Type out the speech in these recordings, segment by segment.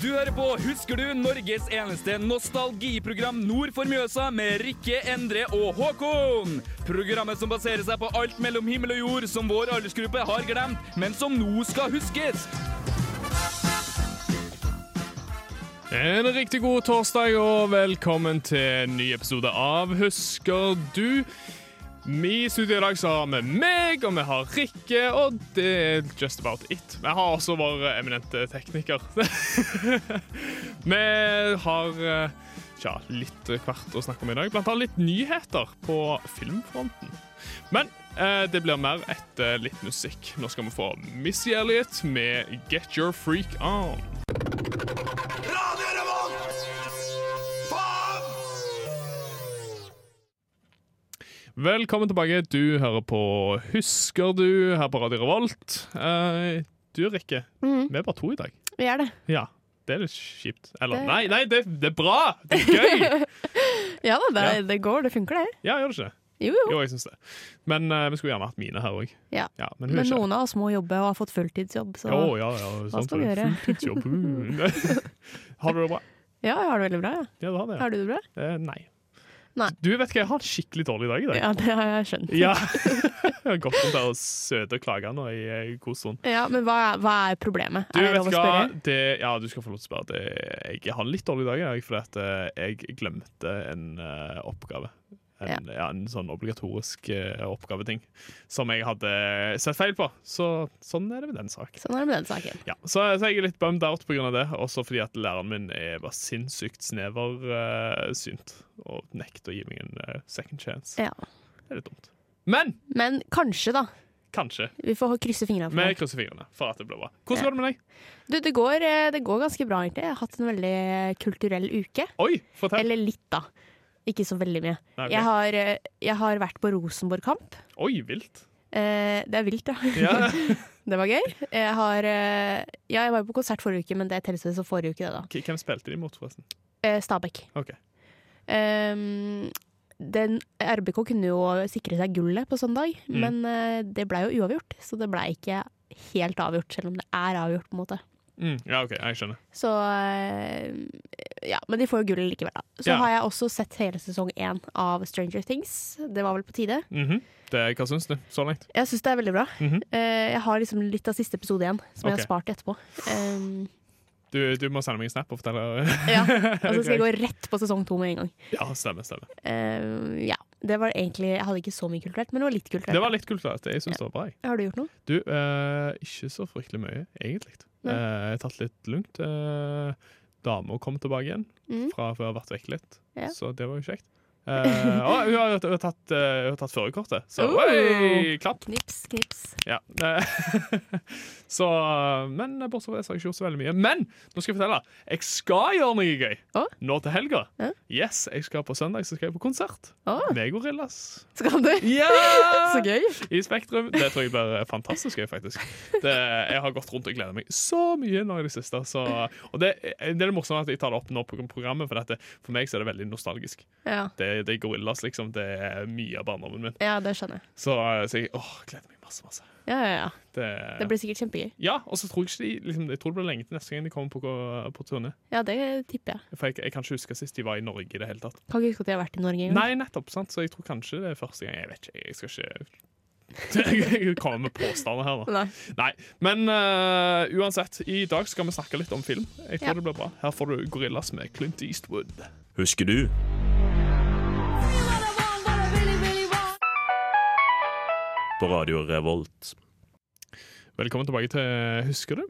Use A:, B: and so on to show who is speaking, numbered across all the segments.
A: Du hører på Husker du? Norges eneste nostalgiprogram nord for Mjøsa med Rikke, Endre og Håkon. Programmet som baserer seg på alt mellom himmel og jord som vår aldersgruppe har glemt, men som nå skal huskes.
B: En riktig god torsdag og velkommen til en ny episode av Husker du? Vi i studio i dag så har vi meg, og vi har Rikke, og det er just about it. Vi har også vår eminente tekniker. vi har eh, tja, litt hvert å snakke om i dag, blant annet litt nyheter på filmfronten. Men eh, det blir mer etter litt musikk. Nå skal vi få Missy Elliot med Get Your Freak On.
C: Radio Revolt! Faen!
B: Velkommen tilbake. Du hører på Husker du her på Radio Revolt. Eh, du, Rikke,
D: Mhm.
B: vi er bare to i dag.
D: Vi er det.
B: Ja, det er litt kjipt. Eller
D: Det-
B: nei, nei det, det er bra! Det er gøy!
D: Ja da, det,
B: Ja.
D: det går. Det funker, det.
B: Ja, gjør det ikke?
D: Jo, jo.
B: Jo, jeg syns det. Men eh, vi skulle gjerne hatt Mine her òg.
D: Ja.
B: men hun
D: Men
B: er ikke
D: noen av oss må jobbe og har fått fulltidsjobb, så
B: Jo, ja, ja, sant
D: skal vi
B: det.
D: gjøre?
B: Fulltidsjobb. Mm. har du det bra?
D: ja, jeg har det veldig bra. Ja.
B: Ja, du har det? ja.
D: Har du det bra?
B: Eh, nei.
D: Nei.
B: Du vet hva, jeg har en skikkelig dårlig dag i dag.
D: Ja, det har jeg skjønt.
B: Ja. Jeg har gått rundt her og søte og klaga nå i eh, god stund.
D: Ja, Men hva er, hva er problemet?
B: Du
D: er det
B: vet
D: lov å
B: hva,
D: spørre?
B: det, ja, du skal få lov til å spørre. Det, jeg har en litt dårlig dag i dag, fordi at eh, jeg glemte en eh, oppgave. En, ja. en sånn obligatorisk eh, oppgaveting som jeg hadde eh, sett feil på. Så sånn er det med den saken.
D: Sånn er det med den saken.
B: Ja, så, så jeg er litt bummed out pga. det, også fordi at læreren min er, var sinnssykt sneversynt og nekter å gi meg en eh, second chance.
D: Ja.
B: Det er litt dumt. Men
D: Men kanskje, da.
B: kanskje.
D: Vi får krysse fingrene for
B: Vi
D: det.
B: krysser fingrene for at det blir bra. Hvordan
D: Ja.
B: går det med deg?
D: Du, det går, eh, det går ganske bra, egentlig. Jeg har hatt en veldig eh, kulturell uke.
B: Oi, fortell.
D: Eller litt, da. Ikke så veldig mye.
B: Nei, ok.
D: Jeg, har, eh, jeg har vært på Rosenborg-kamp.
B: Oi, vilt.
D: Eh, det er vilt, ja.
B: Ja.
D: Det var gøy. Jeg har eh, Ja, jeg var jo på konsert forrige uke, men det telles som forrige uke, det, da.
B: K- Hvem spilte de mot, forresten?
D: Eh, Stabæk.
B: Ok.
D: Ehm, den, RBK kunne jo sikre seg gullet på søndag,
B: Mm.
D: men eh, det blei jo uavgjort. Så det blei ikke helt avgjort, selv om det er avgjort, på en måte.
B: Mm, ja, ok, jeg skjønner.
D: Så eh, Ja, men de får jo gullet likevel, da. Så
B: Ja.
D: har jeg også sett hele sesong én av Stranger Things. Det var vel på tide.
B: Mhm. det, hva syns du så langt?
D: Jeg syns det er veldig bra.
B: Mhm.
D: Eh, jeg har liksom litt av siste episode igjen, som
B: Ok.
D: jeg har spart til etterpå. Ehm,
B: Du, du må sende meg en snap og fortelle.
D: Ja, og så skal jeg gå rett på sesong to med en gang.
B: ja, stemmer, stemmer.
D: Eh, ja, det var egentlig Jeg hadde ikke så mye kulturelt, men det var litt kulturelt.
B: Det var litt kulturelt. Jeg syns det var bra. Jeg.
D: Har du gjort noe?
B: Du, eh, ikke så fryktelig mye, egentlig.
D: Nei.
B: Eh, jeg har tatt litt lungt. Eh, Dama kom tilbake igjen
D: Mm.
B: fra før jeg har vært vekk litt,
D: Ja.
B: så det var jo kjekt. Eh, å, hun, har, hun har tatt, eh, hun har tatt førerkortet, så
D: Oh.
B: oi, klapp!
D: Knips, knips.
B: Ja. Eh, så, men bortsett fra det så har jeg ikke gjort så veldig mye. Men nå skal jeg fortelle. Jeg skal gjøre noe gøy
D: Å?
B: nå til helga.
D: Ja.
B: Yes, jeg skal På søndag så skal jeg på konsert
D: Å.
B: med Gorillas.
D: Skal du? Så gøy.
B: I Spektrum. Det tror jeg blir fantastisk gøy, faktisk. Det, jeg har gått rundt og gleda meg så mye nå i det siste. Så, og det, det er det morsomme at jeg tar det opp nå på programmet, for dette, for meg så er det veldig nostalgisk.
D: Ja,
B: Det, det er Gorillas, liksom. Det er mye av barndommen min.
D: ja det skjønner jeg.
B: Så, så jeg åh, gleder meg masse, masse.
D: Ja, ja, ja.
B: Det,
D: Det blir sikkert kjempegøy.
B: Ja, og så tror jeg ikke de liksom, Jeg tror det blir lenge til neste gang de kommer på, på turné.
D: Ja, det tipper jeg.
B: For jeg, jeg kan ikke huske sist de var i Norge i det hele tatt.
D: Kan ikke huske at jeg har vært i Norge engang.
B: Nei, nettopp, sant? Så jeg tror kanskje det er første gang. Jeg vet ikke. Jeg skal ikke Jeg kommer med påstander her, da.
D: Nei.
B: Nei. Men eh, uansett, i dag skal vi snakke litt om film. Jeg tror
D: Ja.
B: det blir bra. Her får du Gorillas med Clint Eastwood.
C: Husker du? På Radio Revolt.
B: Velkommen tilbake til Husker du?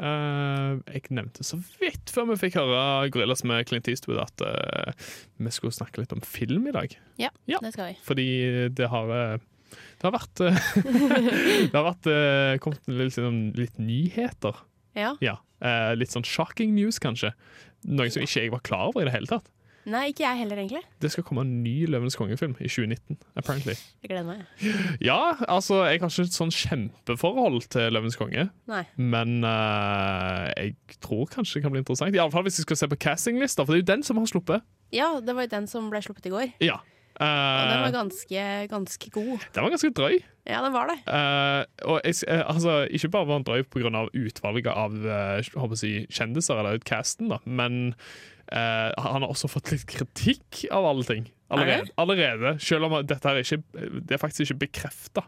B: Eh, jeg nevnte så vidt før vi fikk høre Gorillas med Clint Eastwood at eh, vi skulle snakke litt om film i dag.
D: Ja,
B: Ja.
D: det skal vi.
B: Fordi det har eh, Det har vært eh, Det har vært eh, kommet litt, sånn- litt nyheter.
D: Ja.
B: Ja. Eh, Litt sånn shocking news, kanskje. Noe som ikke jeg var klar over i det hele tatt.
D: Nei, ikke jeg heller, egentlig.
B: Det skal komme en ny Løvenes konge-film i 2019, apparently.
D: Jeg gleder meg.
B: Ja, altså, jeg har ikke et sånn kjempeforhold til Løvenes konge,
D: Nei.
B: men eh, jeg tror kanskje det kan bli interessant. Iallfall hvis jeg skal se på castinglista, for det er jo den som har sluppet.
D: Ja, det var jo den som ble sluppet i går.
B: Ja.
D: Og den var
B: Eh,
D: ganske, ganske god.
B: den var ganske drøy.
D: Ja, den var det.
B: Eh, og jeg, s- eh, altså, ikke bare var han drøy pga. utvalget av eh, håper jeg, å si, kjendiser, eller casten, da, men eh, han har også fått litt kritikk av alle ting.
D: Er
B: Allerede.
D: det?
B: allerede selv om dette her er ikke, det er faktisk ikke bekrefta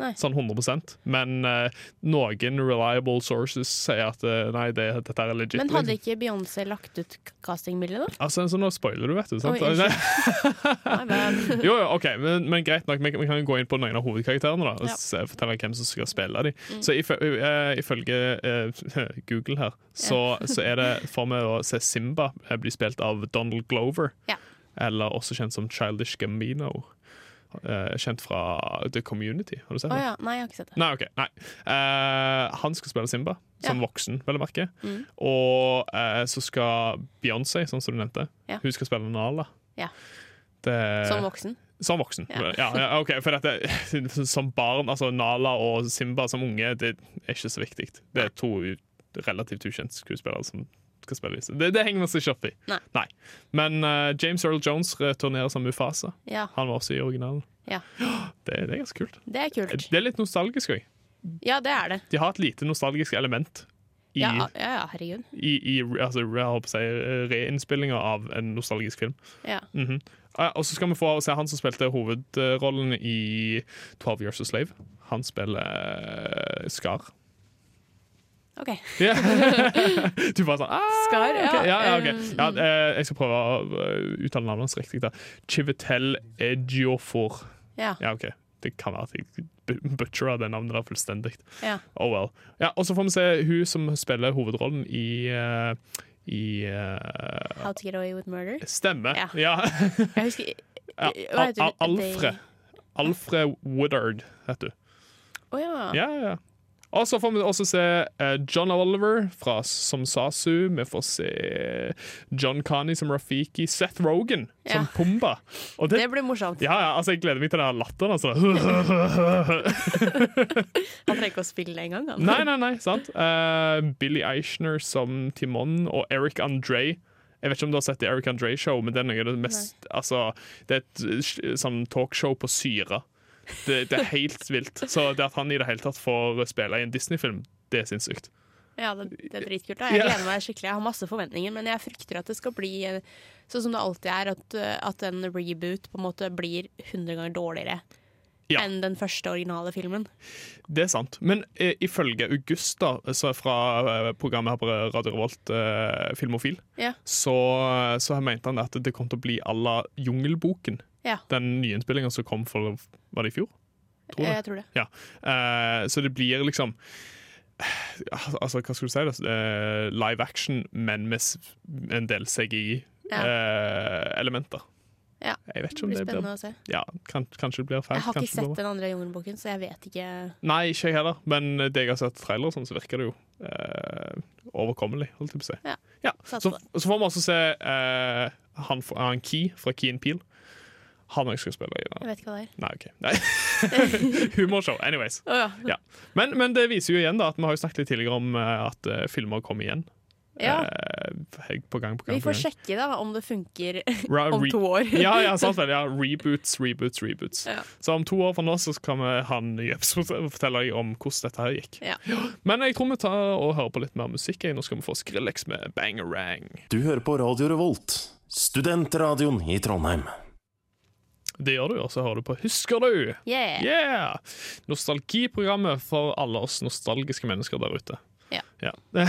D: Nei.
B: sånn 100 men eh, noen reliable sources sier at eh, nei, det, dette her er legit.
D: Men hadde
B: liksom.
D: ikke Beyoncé lagt ut castingbildet, da?
B: altså, så nå spoiler du, vet du. Sant?
D: Oi, unnskyld. My bad.
B: Jo, jo, ok, men, men greit nok. Vi, vi kan gå inn på noen av hovedkarakterene da, og
D: Ja. Mm.
B: se- fortelle hvem som skal spille dem. Så ifø- eh, ifølge eh, Google her, så, så er det for meg å se Simba eh, bli spilt av Donald Glover.
D: Ja.
B: Eller også kjent som Childish Gambino. Eh, kjent fra The Community. Har du sett
D: Å
B: det?
D: ja. Nei, jeg har ikke sett det.
B: Nei, ok. Nei. Eh, han skal spille Simba, som
D: Ja. Mm.
B: voksen, vel å merke. Og eh, så skal Beyoncé, sånn som du nevnte,
D: Ja.
B: hun skal spille Nala.
D: Ja.
B: Det-
D: Som voksen.
B: som voksen. Ja.
D: Ja.
B: Ja, ok, for dette, Som barn, altså Nala og Simba som unge, det er ikke så viktig. Det er to u- relativt ukjente skuespillere som skal spille disse. Det, det henger vi oss ikke opp i.
D: Nei.
B: Men eh, James Earl Jones returnerer som Mufasa.
D: Ja.
B: Han var også i originalen.
D: Ja.
B: Det, det er ganske kult.
D: Det er kult.
B: Det er litt nostalgisk òg.
D: Ja, det er det.
B: De har et lite nostalgisk element i,
D: Ja, ja, ja herregud.
B: i, i altså, jeg håper å si, reinnspillinga av en nostalgisk film.
D: Ja.
B: Mhm. Eh, Og så skal vi få se han som spilte hovedrollen i 12 Years a Slave. Han spiller eh, Skar.
D: OK.
B: Ja. du bare sånn ah,
D: Skar, ja.
B: ok, ja, ja, ok.
D: Um,
B: ja eh, Jeg skal prøve å eh, uttale navnet hans riktig. da Chivetel Ejiofor.
D: Ja.
B: Ja, OK. Det kan være at jeg bu- butchera det navnet der fullstendig.
D: ja.
B: Oh well. Ja, og så får vi se hun som spiller hovedrollen i, eh, i eh,
D: How to get away with murder.
B: Stemme.
D: Ja.
B: ja.
D: Jeg husker
B: Ja,
D: Hva heter
B: Al-
D: det?
B: Al- Alfred. Alfred Woodard heter du.
D: Å ja.
B: Ja, ja, ja. Og så får vi også se eh, John Oliver fra, som Sasu. Vi får se John Carney som Rafiki. Seth Rogan som
D: Ja.
B: Pumba. Og det,
D: Det blir morsomt.
B: ja, ja, altså, jeg gleder meg til den her latteren. Altså.
D: Han trenger ikke å spille engang. han.
B: nei, nei, nei, sant? Eh, Billy Eichner som Timon og Eric Andre. Jeg vet ikke om du har sett det Eric Andre-show, men det er noe av det mest altså, Det er et eh, sånn talkshow på syre. Det, det er helt vilt. Så det at han i det hele tatt får spille i en Disney-film, det er sinnssykt.
D: Ja, det, det er dritkult. da. Jeg
B: Ja.
D: gleder meg skikkelig. Jeg har masse forventninger, men jeg frykter at det skal bli eh, sånn som det alltid er, at, eh, at en reboot på en måte blir 100 ganger dårligere
B: Ja.
D: enn den første originale filmen.
B: Det er sant. Men eh, ifølge Augusta så er fra eh, programmet her på Radio Revolt, eh, Filmofil,
D: Ja.
B: så, så mente han at det kom til å bli à la Jungelboken.
D: Ja.
B: Den nyinnspillinga som kom for Var det i fjor? Tror det.
D: Jeg tror det.
B: Ja. Eh, så det blir liksom Altså, hva skal du si? da? Eh, live action, men med s- en del
D: Ja.
B: CGI-elementer.
D: Ja.
B: Jeg vet ikke
D: Det
B: om
D: blir
B: Eh, det blir
D: spennende å se.
B: ja, kan, Kanskje det blir feil.
D: Jeg har ikke
B: kanskje det
D: sett
B: blir bra.
D: den andre Jungelboken, så jeg vet ikke
B: Nei, ikke jeg heller. Men det jeg har sett trailer og sånn, så virker det jo eh, overkommelig. holdt jeg på å si.
D: Ja.
B: Ja.
D: Satser
B: Så,
D: på det.
B: så får vi også se eh, han, fra- han Key fra Key and Peel. Han òg skal spille i den.
D: Jeg vet ikke hva det er.
B: Nei, OK. Nei. Humorshow. Anyways.
D: Å ja.
B: Ja. Men, men det viser jo igjen da at vi har jo snakket litt tidligere om eh, at eh, filmer kommer igjen.
D: Ja.
B: Eh, på gang på gang.
D: Vi
B: på
D: får
B: gang.
D: sjekke da om det funker
B: Ra-
D: om
B: re-
D: to år.
B: ja, ja, sant vel. Ja, reboots, reboots, reboots.
D: Ja.
B: Så om to år fra nå så kan vi ha en ny episode og fortelle deg om hvordan dette her gikk.
D: Ja.
B: Men jeg tror vi tar og hører på litt mer musikk. jeg. Nå skal vi få Skrillex med Bangerang.
E: Du hører på Radio Revolt, studentradioen i Trondheim.
B: Det gjør du, og så hører du på Husker du?
D: Yeah.
B: Yeah! Nostalgiprogrammet for alle oss nostalgiske mennesker der ute.
D: Ja.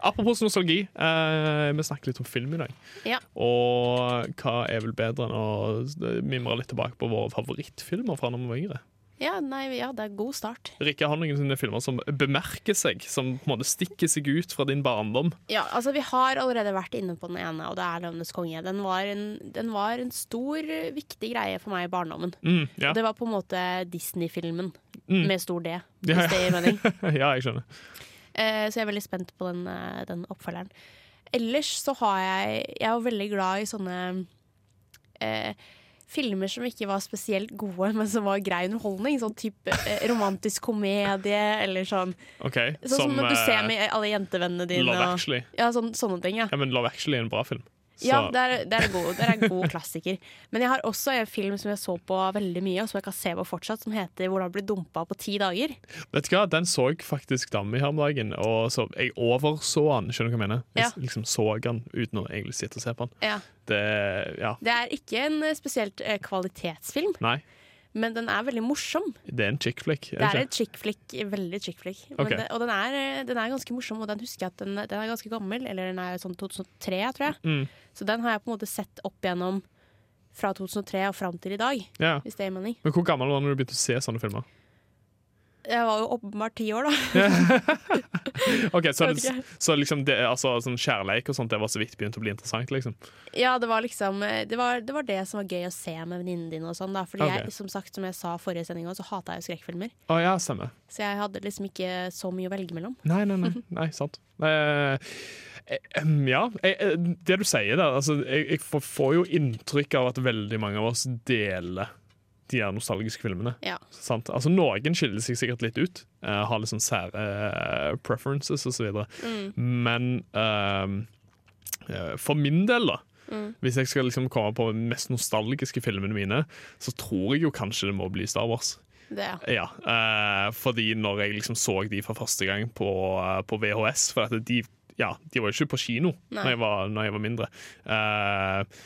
B: Apropos nostalgi, eh, vi snakker litt om film i dag.
D: Ja.
B: Og hva er vel bedre enn å eh, mimre litt tilbake på våre favorittfilmer fra da vi var yngre?
D: Ja, nei, ja, det er god start.
B: Rikke har noen sånne filmer som bemerker seg, som på en måte stikker seg ut fra din barndom.
D: Ja, altså Vi har allerede vært inne på den ene, og det er 'Løvenes konge'. Den var, en, den var en stor, eh, viktig greie for meg i barndommen.
B: Mm, ja.
D: Det var på en måte Disney-filmen
B: Mm.
D: med stor D.
B: Ja, ja.
D: Hvis det gir mening.
B: ja, jeg skjønner.
D: Eh, så jeg er veldig spent på den, eh, den oppfølgeren. Ellers så har jeg Jeg var veldig glad i sånne eh, filmer som ikke var spesielt gode, men som var grei underholdning. Sånn type eh, romantisk komedie eller sånn.
B: Ok,
D: Sånn som, du
B: eh,
D: ser med alle jentevennene dine.
B: Love
D: og-
B: Actually.
D: Ja, sånn, sånne ting, ja.
B: Ja, men Love Actually er en bra film.
D: Ja, det er, det, er god, det er en god klassiker. Men jeg har også en film som jeg så på veldig mye, og som jeg kan se på fortsatt, som heter 'Hvordan bli dumpa på ti dager'.
B: Vet du hva, Den så jeg faktisk damme i her om dagen, og så jeg overså den. Skjønner du hva jeg mener? Jeg
D: Ja.
B: s- liksom så den uten å egentlig sitte og se på den.
D: Ja.
B: Det, ja,
D: Det er ikke en eh, spesielt eh, kvalitetsfilm,
B: Nei,
D: men den er veldig morsom.
B: det er en chick flick.
D: Det er
B: ikke?
D: et chick flick, veldig chick flick. Men
B: Ok.
D: det, og den er, eh, den er ganske morsom, og den husker jeg at den, den er ganske gammel, eller den er sånn 2003, tror jeg.
B: Mm.
D: Så den har jeg på en måte sett opp gjennom fra 2003 og fram til i dag,
B: Ja.
D: hvis det gir mening.
B: Men hvor gammel var du da du begynte å se sånne filmer?
D: Jeg var jo åpenbart ti år, da.
B: Ok, Så,
D: Jeg vet
B: så liksom det, altså, sånn kjærleik og sånt, det var så vidt begynt å bli interessant, liksom?
D: Ja, det var liksom det var, det var det som var gøy å se med venninnene dine og sånn, da. Fordi
B: Ok.
D: jeg, som sagt, som jeg sa forrige sending også, så hata jeg jo skrekkfilmer.
B: Å ja, stemmer.
D: Så jeg hadde liksom ikke så mye å velge mellom.
B: Nei, nei, nei. nei sant. Eh, eh, em, ja, eh, eh, det du sier der altså, jeg, jeg får- får jo inntrykk av at veldig mange av oss deler de her nostalgiske filmene.
D: Ja.
B: Sant? Altså, noen skiller seg sikkert litt ut, eh, har litt sånn sære eh, preferences osv. Men ehm, eh, for min del, da Hvis jeg skal liksom komme på de mest nostalgiske filmene mine, så tror jeg jo kanskje det må bli Star Wars.
D: Det, ja.
B: Ja, eh, fordi når jeg liksom så de for første gang på, eh, på VHS For at de, ja, de var jo ikke på kino
D: Nei.
B: når jeg, var, når jeg var mindre. Eh,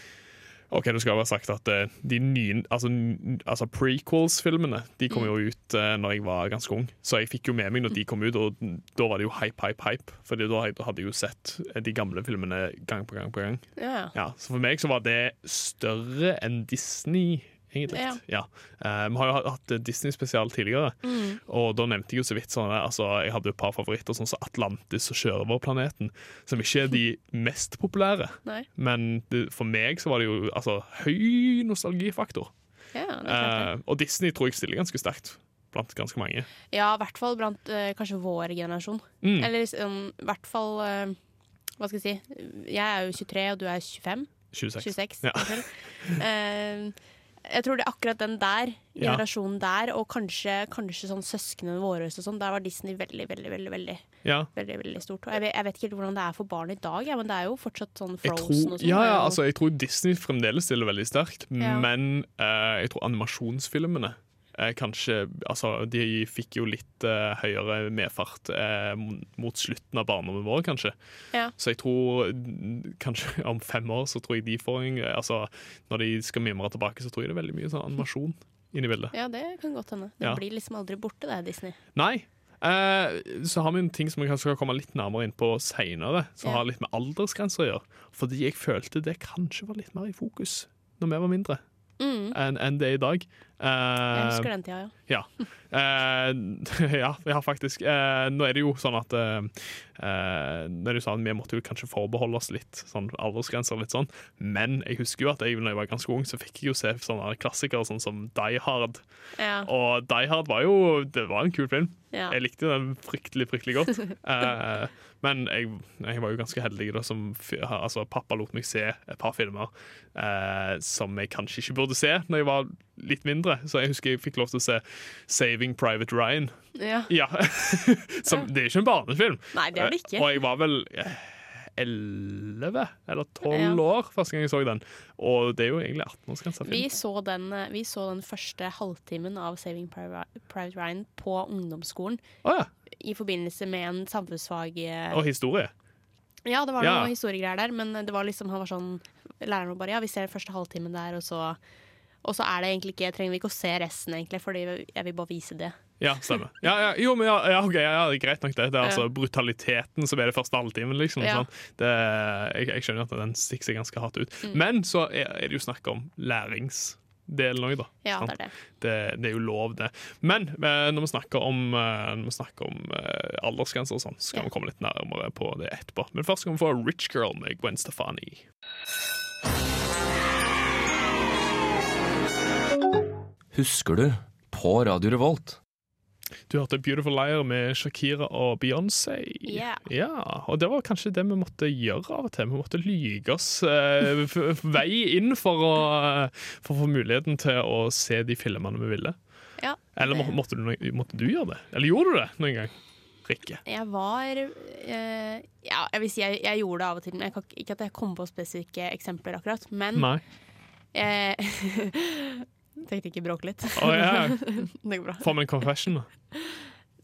B: OK, du skal jo ha sagt at eh, de nye Altså, n- altså prequels-filmene De kom jo ut uh, når jeg var ganske ung, så jeg fikk jo med meg når de kom ut, og da var det jo hype, hype, hype. Fordi da hadde jeg jo sett eh, de gamle filmene gang på gang på gang.
D: Ja, ja.
B: Ja, så for meg så var det større enn Disney, egentlig. Ja. Eh, vi har jo hatt Disney-spesial tidligere,
D: Mm.
B: og da nevnte jeg jo så vidt sånne, altså, jeg hadde jo et par favoritter, sånn som Atlantis og Sjørøverplaneten, som ikke er de mest populære.
D: Nei.
B: Men det, for meg så var det jo altså, høy nostalgifaktor.
D: Ja, det er klart det.
B: Eh, og Disney tror jeg stiller ganske sterkt blant ganske mange.
D: ja, i hvert fall blant eh, kanskje vår generasjon.
B: Mm.
D: Eller liksom, i hvert fall eh, Hva skal jeg si? Jeg er jo 23, og du er 25.
B: 26.
D: 26.
B: Ja.
D: unnskyld. Eh, jeg tror det er akkurat den der,
B: Ja.
D: generasjonen der, og kanskje, kanskje sånn søsknene våre og sånn, der var Disney veldig, veldig, veldig veldig,
B: Ja.
D: veldig, veldig stort. Og jeg, vet, jeg vet ikke helt hvordan det er for barn i dag, ja, men det er jo fortsatt sånn
B: Jeg
D: Frozen
B: tror,
D: og sånn.
B: ja,
D: Det er
B: ja,
D: jo-
B: altså, jeg tror Disney fremdeles stiller veldig sterkt,
D: Ja.
B: men eh, jeg tror animasjonsfilmene eh, kanskje Altså, de fikk jo litt eh, høyere medfart eh, mot slutten av barndommen vår, kanskje.
D: Ja.
B: Så jeg tror mm, kanskje om fem år så tror jeg de får en Altså, når de skal mimre tilbake, så tror jeg det er veldig mye sånn animasjon inni bildet.
D: ja, det kan godt hende. Det
B: Ja.
D: blir liksom aldri borte, det, Disney.
B: Nei. Eh, så har vi en ting som jeg skal komme litt nærmere inn på seinere, som
D: Ja.
B: har litt med aldersgrenser å gjøre. Fordi jeg følte det kanskje var litt mer i fokus når vi var mindre
D: Mm.
B: enn enn det er i dag.
D: Jeg
B: Eh,
D: husker den tida, ja.
B: ja. Eh, ja, ja, faktisk. Eh, nå er det jo sånn at eh, eh, Når du sa at vi måtte jo kanskje forbeholde oss litt sånn aldersgrenser, og litt sånn. men jeg husker jo at jeg, når jeg var ganske ung, så fikk jeg jo se sånne klassikere sånn som Die Hard.
D: Ja,
B: Og Die Hard var jo Det var en kul film.
D: ja.
B: Jeg likte den fryktelig, fryktelig godt. Eh, men jeg, jeg var jo ganske heldig da som f- altså, pappa lot meg se et par filmer eh, som jeg kanskje ikke burde se når jeg var litt mindre. Så jeg husker jeg fikk lov til å se 'Saving Private Ryan'.
D: ja.
B: Ja. som, det er ikke en barnefilm.
D: Nei, det er det
B: Eh, Og
D: ikke.
B: jeg var vel elleve eller
D: Ja.
B: tolv år første gang jeg så den. Og det er jo egentlig 18-årsgrensa.
D: Vi så, den, eh, vi så den første halvtimen av Saving Priva- Private Ryan på ungdomsskolen
B: Å ja.
D: i forbindelse med en samfunnsfag... eh,
B: Og historie.
D: Ja, det var
B: Ja.
D: noen historiegreier der, men det var liksom, han var sånn Læreren var bare ja, vi ser første halvtimen der, og så og så er det egentlig ikke, trenger vi ikke å se resten, egentlig, fordi jeg vil bare vise det.
B: Ja, stemmer. Ja, ja, jo, men ja, ja, ok, ja, ja, det er greit nok det. Det er
D: Ja.
B: altså brutaliteten som er det første halvtimen. Liksom,
D: Ja.
B: sånn. det, jeg, jeg skjønner at den stikker seg ganske hardt ut.
D: Mm.
B: Men så er, er det jo snakk om læringsdelen òg, da.
D: Ja,
B: sant?
D: det er det.
B: det, det er jo lov, det. Men eh, når vi snakker om, eh, når vi snakker om eh, aldersgrenser og sånn, så skal
D: Ja.
B: vi komme litt nærmere på det etterpå. Men først skal vi få Rich Girl med Gwen Stefani.
F: Husker du? På Radio Revolt.
B: Du hørte Beautiful Liar med Shakira og Beyoncé.
D: Ja.
B: Ja, og det var kanskje det vi måtte gjøre av og til. Vi måtte lyge oss eh, f- vei inn for å, eh, for å få muligheten til å se de filmene vi ville.
D: Ja,
B: Eller må, måtte, du, no- måtte du gjøre det? Eller gjorde du det noen gang? Rikke?
D: Jeg var eh, Ja, jeg vil si jeg, jeg gjorde det av og til. Men jeg kan, ikke- ikke at jeg kom på spesifikke eksempler akkurat. Men
B: Nei.
D: eh, Tenkte ikke bråke litt.
B: Å, ja.
D: Det går bra.
B: Får vi en confession, da?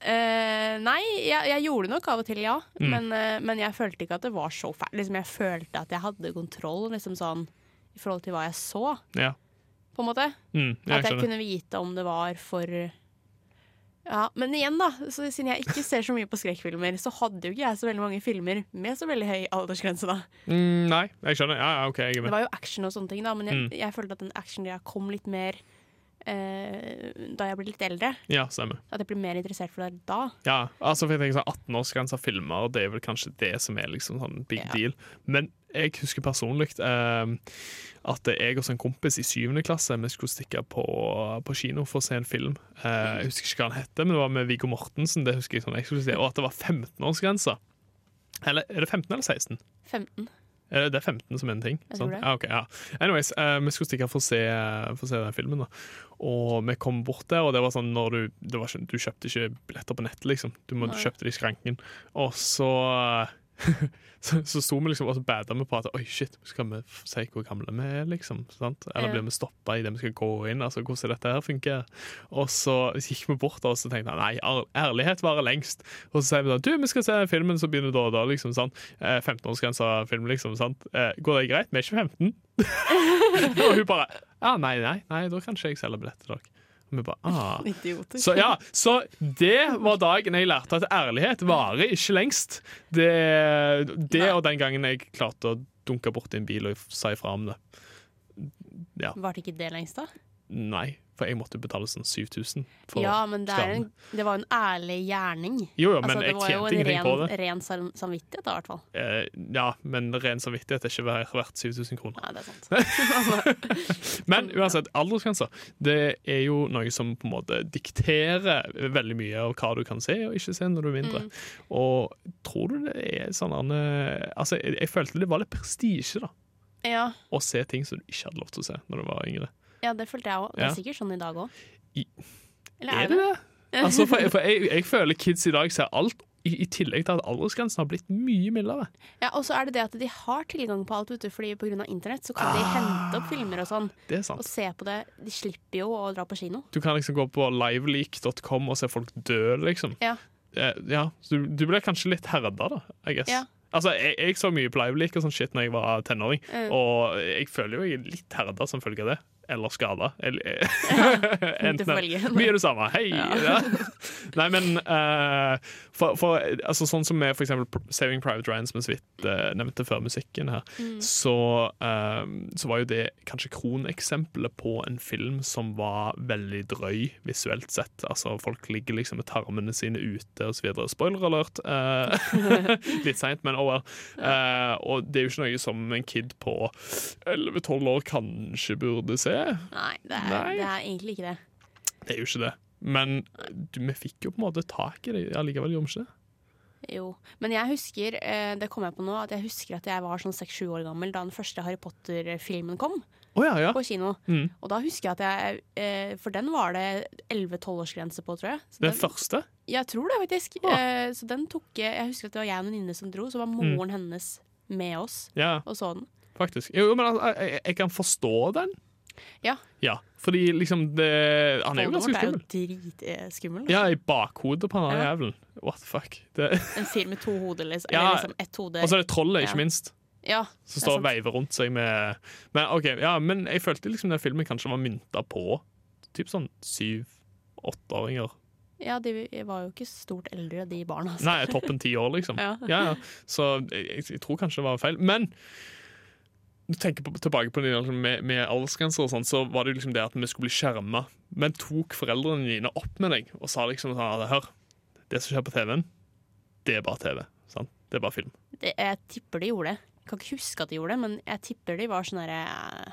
D: Eh, nei, jeg, jeg gjorde nok av og til, ja.
B: Mm.
D: Men, eh, men jeg følte ikke at det var så fælt. Liksom, jeg følte at jeg hadde kontroll liksom sånn, i forhold til hva jeg så,
B: Ja.
D: på en måte.
B: Mm, jeg
D: At jeg
B: skjønner.
D: kunne vite om det var for ja, Men igjen, da, så siden jeg ikke ser så mye på skrekkfilmer, så hadde jo ikke jeg så veldig mange filmer med så veldig høy aldersgrense, da.
B: Mm, nei, jeg skjønner. Ja, ja, OK, jeg er
D: Det
B: med.
D: var jo action og sånne ting, da, men jeg,
B: Mm.
D: jeg følte at den actiongreia kom litt mer eh, da jeg ble litt eldre.
B: Ja, stemmer.
D: At jeg ble mer interessert for det da.
B: Ja, altså for jeg tenker sånn 18-årsgrensa filmer, det er vel kanskje det som er liksom sånn big
D: Ja.
B: deal. Men jeg husker personlig eh, at jeg og en kompis i syvende klasse vi skulle stikke på, på kino for å se en film. Eh, jeg husker ikke hva han hette, men det var med Viggo Mortensen. det husker jeg sånn eksklusivt, Og at det var 15-årsgrensa. Eller er det 15 eller 16?
D: 15.
B: Er Eh, det- det er 15 som er en ting?
D: Jeg
B: sant?
D: tror det.
B: Ja, ok, ja. Anyways, eh, vi skulle stikke for å se, for å se den filmen. da. Og vi kom bort der, og det var sånn når du det var, ikke- Du kjøpte ikke billetter på nettet, liksom. Du, må, du
D: Nei.
B: kjøpte det i skranken. Og så så, så sto vi liksom og så bada vi på at Oi, shit, skal vi f- si hvor gamle vi er, liksom? Sant? Eller
D: Ja.
B: blir vi stoppa idet vi skal gå inn? Altså, Hvordan dette her funker? Og så gikk vi bort der, og så tenkte jeg nei, ær- ærlighet varer lengst. Og så sier vi da du, vi skal se filmen som begynner da og da, liksom. sant? Eh, 15-årsgrensa film, liksom. sant? Eh, går det greit? Vi er ikke 15. og hun bare ah, nei, nei, nei, da kan ikke jeg selge billett til dere. Og vi bare ah.
D: Idioter.
B: Så ja, så det var dagen jeg lærte at ærlighet varer ikke lengst. Det, det
D: Nei.
B: og den gangen jeg klarte å dunke borti en bil og sa ifra om det.
D: Varte ikke det lengst, da?
B: Nei, for jeg måtte betale sånn 7000. For,
D: ja, men det, er en,
B: skaden.
D: det var en ærlig gjerning.
B: Jo, jo, men
D: Altså, det
B: jeg
D: var jo
B: tjente
D: en
B: ingenting
D: ren,
B: på det.
D: ren sam- samvittighet, da, i hvert fall.
B: Eh, ja, men ren samvittighet er ikke ver- verdt 7000 kroner.
D: Nei, det er sant. Altså,
B: Men uansett, aldersgrenser Det er jo noe som på en måte dikterer veldig mye av hva du kan se og ikke se når du er mindre. Og tror du det er sånn Anne, Altså, jeg, jeg følte det var litt prestisje, da.
D: Ja,
B: Å se ting som du ikke hadde lov til å se når du var yngre.
D: ja det følte jeg òg. Det
B: Ja.
D: er sikkert sånn i dag òg.
B: I-
D: Eller
B: Er det det? Altså, for for jeg, jeg føler kids i dag ser alt, i, i tillegg til at aldersgrensen har blitt mye mildere.
D: Ja, Og så er det det at de har tilgang på alt, vet du, fordi pga. internett så kan de hente
B: Ah.
D: opp filmer og sånn,
B: Det er sant.
D: og se på det. De slipper jo å dra på kino.
B: Du kan liksom gå på liveleak.com og se folk dø, liksom.
D: Ja.
B: Eh, ja, så du, du ble kanskje litt herda, da. I guess.
D: Ja.
B: Altså, jeg, jeg så mye på Liveleak og sånn shit når jeg var tenåring,
D: Mm.
B: og jeg føler jo jeg er litt herda som følge av det. Eller skada. Eller,
D: Du
B: enten-
D: får velge.
B: mye det samme. Hei!
D: Ja.
B: Ja. Nei, men eh, for, for, altså, Sånn som med for eksempel P- Saving Private Ryan, som jeg så vidt eh, nevnte før musikken her, så, eh, så var jo det kanskje kroneksempelet på en film som var veldig drøy visuelt sett. Altså Folk ligger liksom med tarmene sine ute osv. Spoiler alert! eh, litt seint, men oh well. Eh, og det er jo ikke noe som en kid på 11-12 år kanskje burde se.
D: Nei, det er,
B: Nei.
D: Det er egentlig ikke det.
B: Det er jo ikke det. Men du, vi fikk jo på en måte tak i det allikevel, gjorde vi ikke det?
D: Jo. Men jeg husker, eh, det kom jeg på nå, at jeg husker at jeg var sånn seks-sju år gammel da den første Harry Potter-filmen kom.
B: Å ja, ja.
D: på kino.
B: Mm.
D: Og da husker jeg at jeg eh, For den var det 11-12-årsgrense på, tror jeg. Så
B: Den
D: den-
B: første?
D: Jeg tror det, faktisk.
B: Ah.
D: Eh, så den tok jeg Jeg husker at det var jeg og en venninne som dro, så var
B: Mm.
D: moren hennes med oss
B: Ja,
D: og så den.
B: faktisk. Jo, men altså, jeg, jeg- jeg kan forstå den.
D: Ja.
B: Ja, fordi liksom det Han er jo ganske
D: Voldemort er jo
B: skummel.
D: eh, dritskummel.
B: Ja, i bakhodet på han
D: Ja.
B: jævelen. What the fuck. Det,
D: En fyr med to hoder, liksom.
B: Ja.
D: Eller liksom ett hode.
B: og så er det trollet,
D: Ja.
B: ikke minst,
D: ja,
B: som
D: det er
B: står og
D: sant.
B: veiver rundt seg med Men OK, ja, men jeg følte liksom den filmen kanskje var mynta på typ sånn syv-åtteåringer.
D: ja, de var jo ikke stort eldre, de barna. Altså.
B: Nei, toppen ti år, liksom.
D: Ja.
B: ja, ja. Så jeg, jeg tror kanskje det var feil. Men du tenker på, tilbake på det der med, med aldersgrenser, og sånt, så var det jo liksom det at vi skulle bli skjerma. Men tok foreldrene dine opp med deg og sa liksom sånn «Ja, Hør, det som skjer på TV-en, det er bare TV. Sant? Det er bare film.
D: Det, jeg tipper de gjorde det. Jeg Kan ikke huske at de gjorde det, men jeg tipper de var sånn herre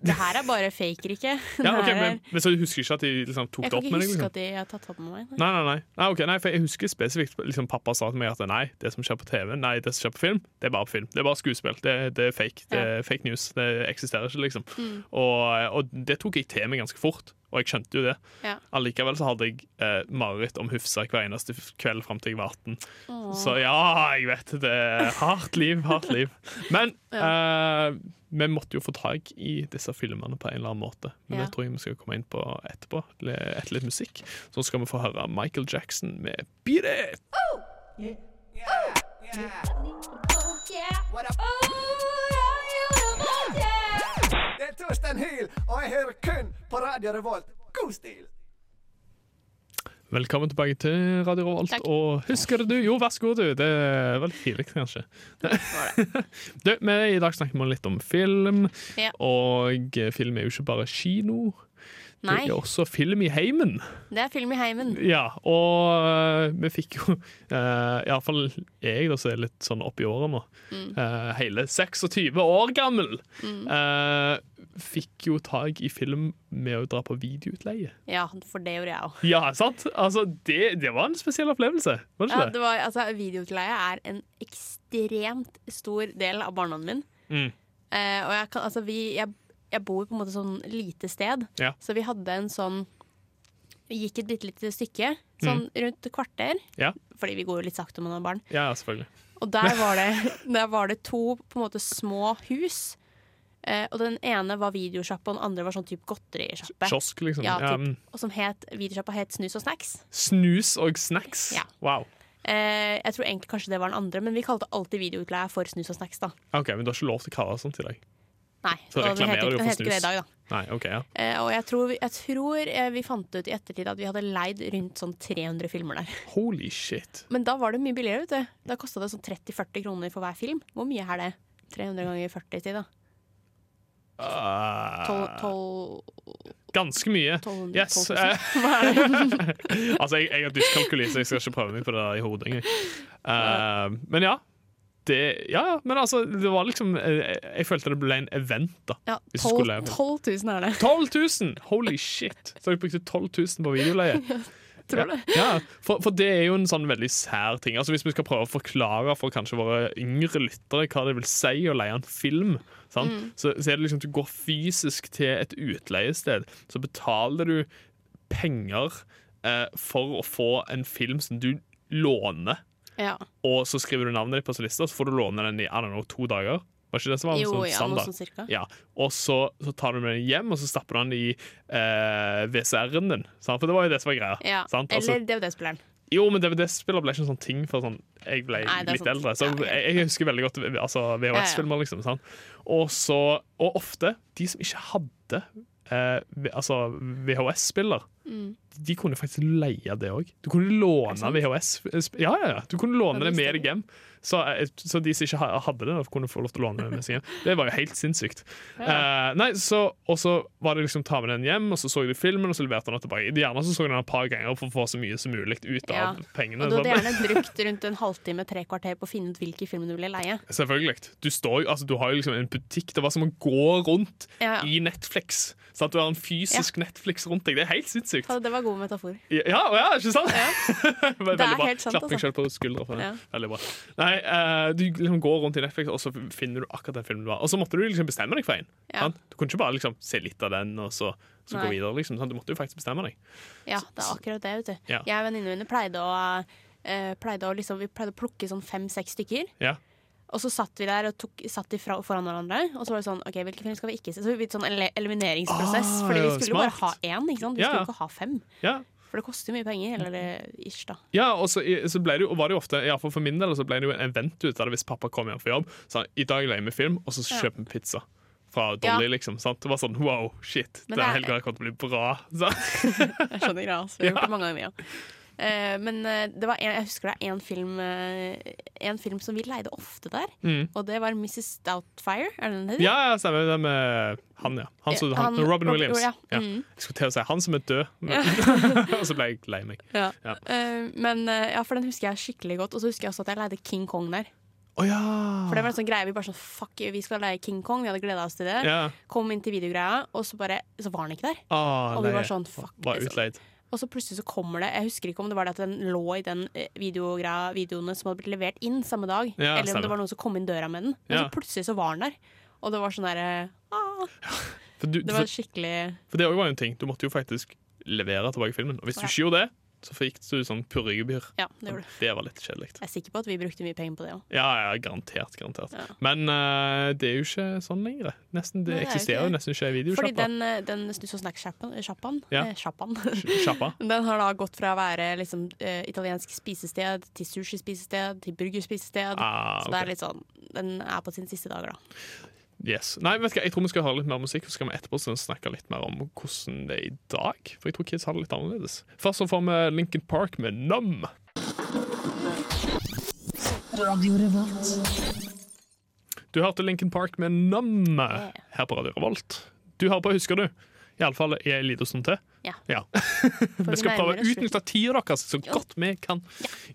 D: Det her er bare fake, ikke?
B: Ja, ok, men, men så husker jeg ikke at de liksom tok
D: Jeg
B: det
D: kan
B: opp
D: ikke
B: med deg?
D: huske
B: Liksom.
D: at de har tatt opp med meg.
B: Nei, nei, nei. Nei, ok, nei, for jeg husker spesifikt liksom, pappa sa til meg at nei, det som skjer på TV, nei, det som skjer på film, det er bare på film. Det er bare skuespill. Det, det er fake. Det er fake news. Det eksisterer ikke, liksom. Og, og det tok jeg til meg ganske fort. og jeg skjønte jo det.
D: Ja.
B: Allikevel så hadde jeg eh, mareritt om Hufsa hver eneste f- kveld fram til jeg var 18. Så ja, jeg vet det. er Hardt liv, hardt liv. Men eh, vi måtte jo få tak i disse filmene på en eller annen måte. Men
D: Ja.
B: det tror jeg vi skal komme inn på etterpå, le- etter litt musikk. Så skal vi få høre Michael Jackson med Beat It!
G: Det er Torstein Hyl, og jeg hører kun på Radio Revolt. God stil!
B: Velkommen tilbake til Radio Revolt.
D: Takk.
B: Og husker du Jo, vær så god, du. Det er veldig tidlig, kanskje. du, vi, I dag snakket vi litt om film,
D: Ja.
B: og film er jo ikke bare kino.
D: Nei,
B: Det er også film i heimen.
D: det er film i heimen.
B: Ja, og eh, vi fikk jo eh, i alle fall jeg, da, som er litt sånn oppi året nå,
D: Mm.
B: eh, hele 26 år gammel, eh, fikk jo tak i film med å dra på videoutleie.
D: Ja, for det gjorde jeg òg.
B: Ja, sant? Altså, det, det var en spesiell opplevelse, var det
D: Ja,
B: ikke det?
D: det var, altså, videoutleie er en ekstremt stor del av barndommen min.
B: Mm.
D: Eh, og jeg, kan, altså, vi, jeg, jeg bor på en måte sånn lite sted,
B: Ja.
D: så vi hadde en sånn Vi gikk et bitte lite stykke, sånn
B: Mm.
D: rundt et kvarter,
B: Ja.
D: fordi vi går jo litt sakte når man er barn.
B: Ja, selvfølgelig.
D: Og der var det, der var det to på en måte små hus. Eh, og den ene var videosjappe, og den andre var sånn type godterisjappe.
B: Kiosk, liksom.
D: Ja,
B: Ja,
D: typ.
B: mm.
D: Og som het, videosjappa het Snus og snacks.
B: snus og snacks.
D: Ja.
B: Wow.
D: Eh, jeg tror egentlig kanskje det var den andre, men vi kalte alltid videoutleie for Snus og snacks. da
B: OK, men du har ikke lov til å kalle det sånt i dag.
D: Nei,
B: Så
D: og den
B: reklamerer
D: heter,
B: du for
D: den heter ikke det
B: snus.
D: i dag, da.
B: Nei, OK, ja.
D: Eh, og jeg tror, jeg tror eh, vi fant ut i ettertid at vi hadde leid rundt sånn 300 filmer der.
B: Holy shit.
D: Men da var det mye billigere, vet du. Da kosta det sånn 30-40 kroner for hver film. Hvor mye er det? 300 ganger 40 til, da.
B: Ah,
D: 12, 12,
B: ganske mye.
D: 1200
B: Yes.
D: 12
B: eh,
D: 000. Hva er det?
B: altså, jeg, jeg har dyskalkuli, så jeg skal ikke prøve meg på det der i hodet engang. Eh, men ja. Det, ja, ja, men altså, det var liksom eh, Jeg følte det ble en event, da.
D: Ja,
B: Hvis du
D: 12,
B: skulle-
D: 12 000 er det.
B: 12 000! Holy shit! Så jeg brukte 12 000 på videoleie.
D: Tror du?
B: Ja, for, for det er jo en sånn veldig sær ting. Altså Hvis vi skal prøve å forklare for kanskje våre yngre lyttere hva det vil si å leie en film, sant?
D: Mm.
B: Så, så er det liksom at du går fysisk til et utleiested, så betaler du penger eh, for å få en film som du låner,
D: Ja.
B: og så skriver du navnet ditt på lista, så får du låne den i I don't know, to dager. Var ikke det som var en
D: Jo,
B: sånn
D: ja, noe
B: standard?
D: sånn cirka.
B: Ja, og så, så tar du med den hjem, og så stapper du den i eh, VCR-en din. Sant? For det var jo det som var greia.
D: Ja.
B: sant? Altså-
D: Eller DVD-spilleren.
B: jo, men DVD-spiller ble ikke en sånn ting for sånn Jeg ble
D: Nei, det er
B: litt
D: sant.
B: eldre, så
D: Ja, ja.
B: jeg, jeg husker veldig godt altså, VHS-filmer, liksom. Sant? Og så Og ofte, de som ikke hadde eh, v- altså VHS-spiller,
D: Mm.
B: de kunne faktisk leie det òg. Du kunne låne VHS eh, sp- Ja, ja, ja. Du kunne låne
D: det
B: det med
D: visste jeg
B: deg hjem. Så, eh, så de som ikke ha- hadde det, da, kunne få lov til å låne det med seg hjem. Det var jo helt sinnssykt. Eh, nei, så, og så var det liksom ta med den hjem, og så så de filmen, og så leverte han den tilbake. Gjerne så så jeg den et par ganger for å få så mye som mulig ut
D: Ja.
B: av pengene.
D: Og du hadde
B: sant?
D: gjerne brukt rundt en halvtime, tre kvarter på å finne ut hvilke filmer du ville leie.
B: Selvfølgelig. Du, står, jo- altså, du har jo liksom en butikk. Det var som å gå rundt
D: Ja, ja.
B: i Netflix. Sant? du har en fysisk Netflix rundt deg. Det er helt sinnssykt.
D: Ja, Det var god metafor.
B: Ja, ja ikke sant? Veldig
D: Det er
B: bra.
D: helt sant,
B: Klapp meg
D: altså.
B: selv på skuldra for det.
D: Ja.
B: Veldig bra. Nei, eh, du liksom går rundt i Netflix, og så finner du akkurat den filmen du har. Og så måtte du liksom bestemme deg for en.
D: Ja.
B: sant? Du kunne ikke bare liksom se litt av den, og så, så gå
D: Nei.
B: videre. Liksom, sant? Du måtte jo faktisk bestemme deg.
D: Ja, det er akkurat det. vet du
B: Ja.
D: Jeg og venninnene mine pleide å, eh, pleide å liksom, Vi pleide å plukke sånn fem-seks stykker.
B: Ja.
D: Og så satt vi der og tok, satt de fra, foran hverandre. Og så var det sånn, ok, hvilken film skal vi ikke se? Så vi sånn ele- elimineringsprosess.
B: Ah,
D: fordi vi
B: ja,
D: skulle jo bare ha
B: smart.
D: én, ikke sant? Vi
B: Ja,
D: skulle
B: ja.
D: jo ikke ha fem.
B: Ja.
D: For det koster jo mye penger. Eller eh, ish, da.
B: Ja, og så, så ble det jo, og var det jo ofte, i hvert fall for min del, så ble det jo en event ut av det hvis pappa kom hjem fra jobb. Så han, i dag leier vi film, og så kjøper vi pizza fra Dolly, liksom. Sant? Det var sånn wow, shit, det
D: Men det
B: er
D: er-
B: helt greit, kommer til å bli bra. sant?
D: Jeg skjønner greia. altså. Vi har gjort det mange ganger, vi òg. Eh, men eh, det var en, jeg husker det er én film, eh, en film som vi leide ofte der.
B: Mm.
D: Og det var Mrs. Doubtfire. Er det den heter?
B: Ja, ja, stemmer det med han, ja. Han, som-
D: Ja,
B: han,
D: han-
B: Robin
D: Robin-
B: Williams.
D: ja,
B: Ja.
D: mm.
B: Jeg skulle til å si han som er død, men, og så ble jeg lei meg.
D: Ja.
B: Ja.
D: Eh, men eh, ja, for den husker jeg skikkelig godt. Og så husker jeg også at jeg leide King Kong der.
B: Å ja.
D: For det var en sånn greie, Vi bare sånn, fuck, vi skal leie King Kong, vi hadde gleda oss til det.
B: ja.
D: Kom inn til videogreia, og så bare, så var den ikke der.
B: Ah,
D: Og vi
B: leie.
D: var sånn, fuck,
B: Var
D: liksom.
B: utleid.
D: Og så plutselig så kommer det, jeg husker ikke om det var det at den lå i den eh, videogreia, videoene som hadde blitt levert inn samme dag,
B: Ja,
D: eller om
B: stemmer.
D: det var noen som kom inn døra med den. Men
B: Ja.
D: så plutselig så var den der. Og det var sånn derre ah.
B: For, du,
D: Det
B: for,
D: var skikkelig
B: for det også var jo en ting. Du måtte jo faktisk levere tilbake filmen. Og hvis du ikke gjorde det, så fikk du sånn purregebyr.
D: Ja, det gjorde du.
B: Det var litt kjedelig.
D: Jeg er sikker på at vi brukte mye penger på det òg.
B: Ja, ja, garantert. garantert.
D: Ja.
B: Men eh, det er jo ikke sånn lenger. Nesten, det
D: Nei, det er jo
B: eksisterer
D: ikke
B: jo
D: det.
B: nesten ikke
D: Fordi
B: videosjappa.
D: den, eh, den snus- og snacks-sjappaen
B: Ja.
D: eh, sjappaen.
B: Sjappa.
D: Den har da gått fra å være liksom, eh, italiensk spisested til sushi-spisested til burgerspisested.
B: Ah,
D: Så det er
B: ok.
D: litt sånn Den er på sine siste dager, da.
B: Yes. Nei, vet du hva, jeg tror vi skal høre litt mer musikk, og så skal vi etterpå sånn snakke litt mer om hvordan det er i dag. For jeg tror kids har det litt annerledes. Først så får vi Lincoln Park med Num. Du hørte Lincoln Park med Num her på Radio Revolt. Du hører på, husker du? Iallfall i en liten stund sånn til.
D: Ja.
B: ja.
D: For
B: Vi skal prøve
D: nærmer
B: å
D: oss
B: utnytte tida deres så godt vi kan.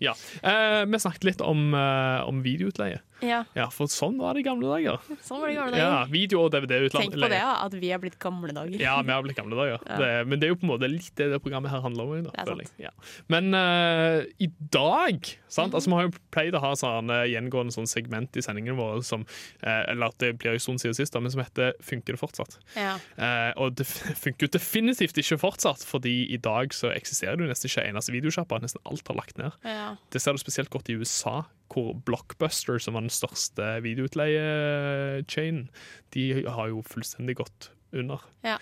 B: Ja. Eh, vi snakket litt om, eh, om videoutleie.
D: slutten. Ja,
B: Ja, for sånn var det i gamle dager.
D: sånn var det i gamle
B: Ja,
D: dager.
B: Video- og DVD-utleie.
D: Tenk på det, da, at vi er blitt gamle dager.
B: Ja, vi har blitt gamle dager. Det, men det er jo på en måte litt det det programmet her handler om. Da,
D: Det er
B: føler jeg.
D: sant.
B: Ja. Men eh, i dag sant? altså, Vi har jo pleid å ha sånn, eh, gjengående sånn segment i sendingene våre som eh, Eller at det blir jo stund siden sist, da, men som heter 'Funker det fortsatt?'
D: Ja.
B: Eh, og det f- funker jo definitivt ikke fortsatt, fordi i dag så eksisterer det jo nesten ikke en eneste videosjappa. Nesten alt er lagt ned.
D: Ja.
B: Det ser du spesielt godt i USA, hvor Blockbuster, som var den største videoutleie-chainen, de har jo fullstendig gått under.
D: Ja.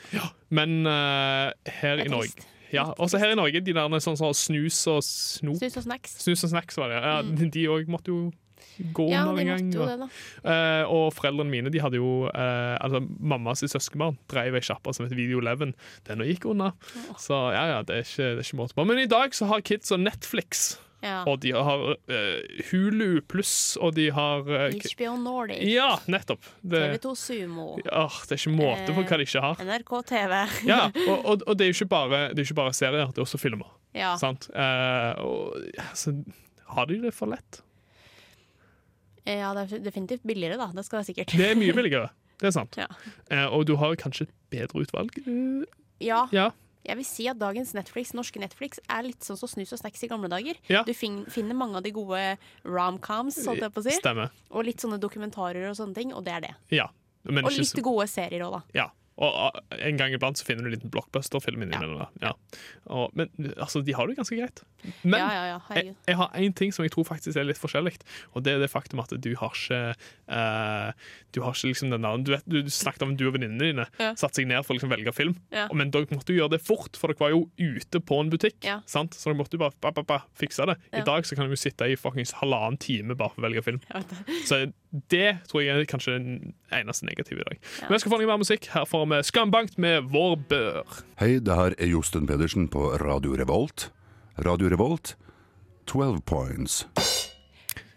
B: Men eh, her
D: Det
B: i
D: er
B: Norge
D: trist.
B: ja, Også her i Norge, de der sånn, sånn snus og snop
D: Snus og snacks.
B: Snus og snacks, var det. Ja, De òg måtte jo gå
D: Ja,
B: under
D: de
B: en gang.
D: måtte jo
B: og-
D: det, da.
B: Eh, og foreldrene mine de hadde jo eh, altså Mamma sitt søskenbarn drev ei sjappa som het Video 11. Den gikk unna. Så ja, ja, det er ikke, det er ikke måte på. Men i dag så har kids og Netflix,
D: Ja.
B: og de har eh, Hulu pluss, og de har eh, k-
D: HBO Nordic,
B: Ja, nettopp! Det,
D: TV2 Sumo,
B: Åh, det er ikke måte på hva de ikke har.
D: NRK TV.
B: Ja, og, og, og det er jo ikke bare, det er ikke bare serier, det er også filmer.
D: Ja.
B: Sant? Eh, og, altså, har de det for lett?
D: ja, det er definitivt billigere, da. Det skal være sikkert.
B: Det er mye billigere. Det er sant.
D: Ja.
B: Eh, og du har jo kanskje et bedre utvalg. eh,
D: Ja,
B: Ja.
D: jeg vil si at dagens Netflix, norske Netflix er litt sånn som snus og snacks i gamle dager.
B: Ja.
D: Du fin finner mange av de gode romcoms, holdt jeg på å si,
B: Stemmer.
D: og litt sånne dokumentarer og sånne ting, og det er det.
B: Ja. Men
D: Og
B: ikke
D: litt
B: så-
D: gode serier òg, da.
B: ja. Og ah, en gang iblant så finner du en liten blockbuster-film innimellom. da. Ja. Og- Men altså, de har det jo ganske greit. Men Eh.
D: Ja, ja, ja,
B: jeg,
D: herregud.
B: jeg har én ting som jeg tror faktisk er litt forskjellig, og det er det faktum at du har ikke eh, Du har ikke liksom den der Du, vet, du snakket om at du og venninnene dine
D: Ja.
B: satte seg ned for å liksom velge film,
D: Ja.
B: men dere måtte jo gjøre det fort, for dere var jo ute på en butikk.
D: Ja.
B: Sant? Så dere måtte jo bare ba, ba, ba, fikse det. I
D: Ja.
B: dag så kan du jo sitte i fuckings halvannen time bare for å velge film.
D: Jeg vet det.
B: Så det tror jeg er kanskje den eneste negative i dag. Men jeg skal få litt mer musikk. Her får vi Skambankt med Vår bør.
H: Hei, det her er Josten Pedersen på Radio Revolt. Radio Revolt, 12 points.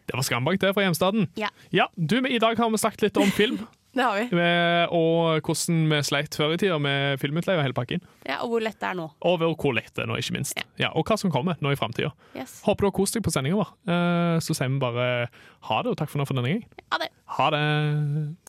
B: Det var Skambankt, det, fra hjemstaden.
D: Ja,
B: Ja, du, vi- I dag har vi snakket litt om film,
D: det har vi.
B: eh, og hvordan vi sleit før i tida med filmutleie og hele pakken.
D: Ja, og hvor lett det er nå.
B: Og hvor lett det er nå, ikke minst. Ja, og hva som kommer nå i framtida.
D: Yes.
B: Håper du har kost deg på sendinga vår. Eh, Så sier vi bare ha det, og takk for nå for denne gang.
D: Ha det.
B: Ha det.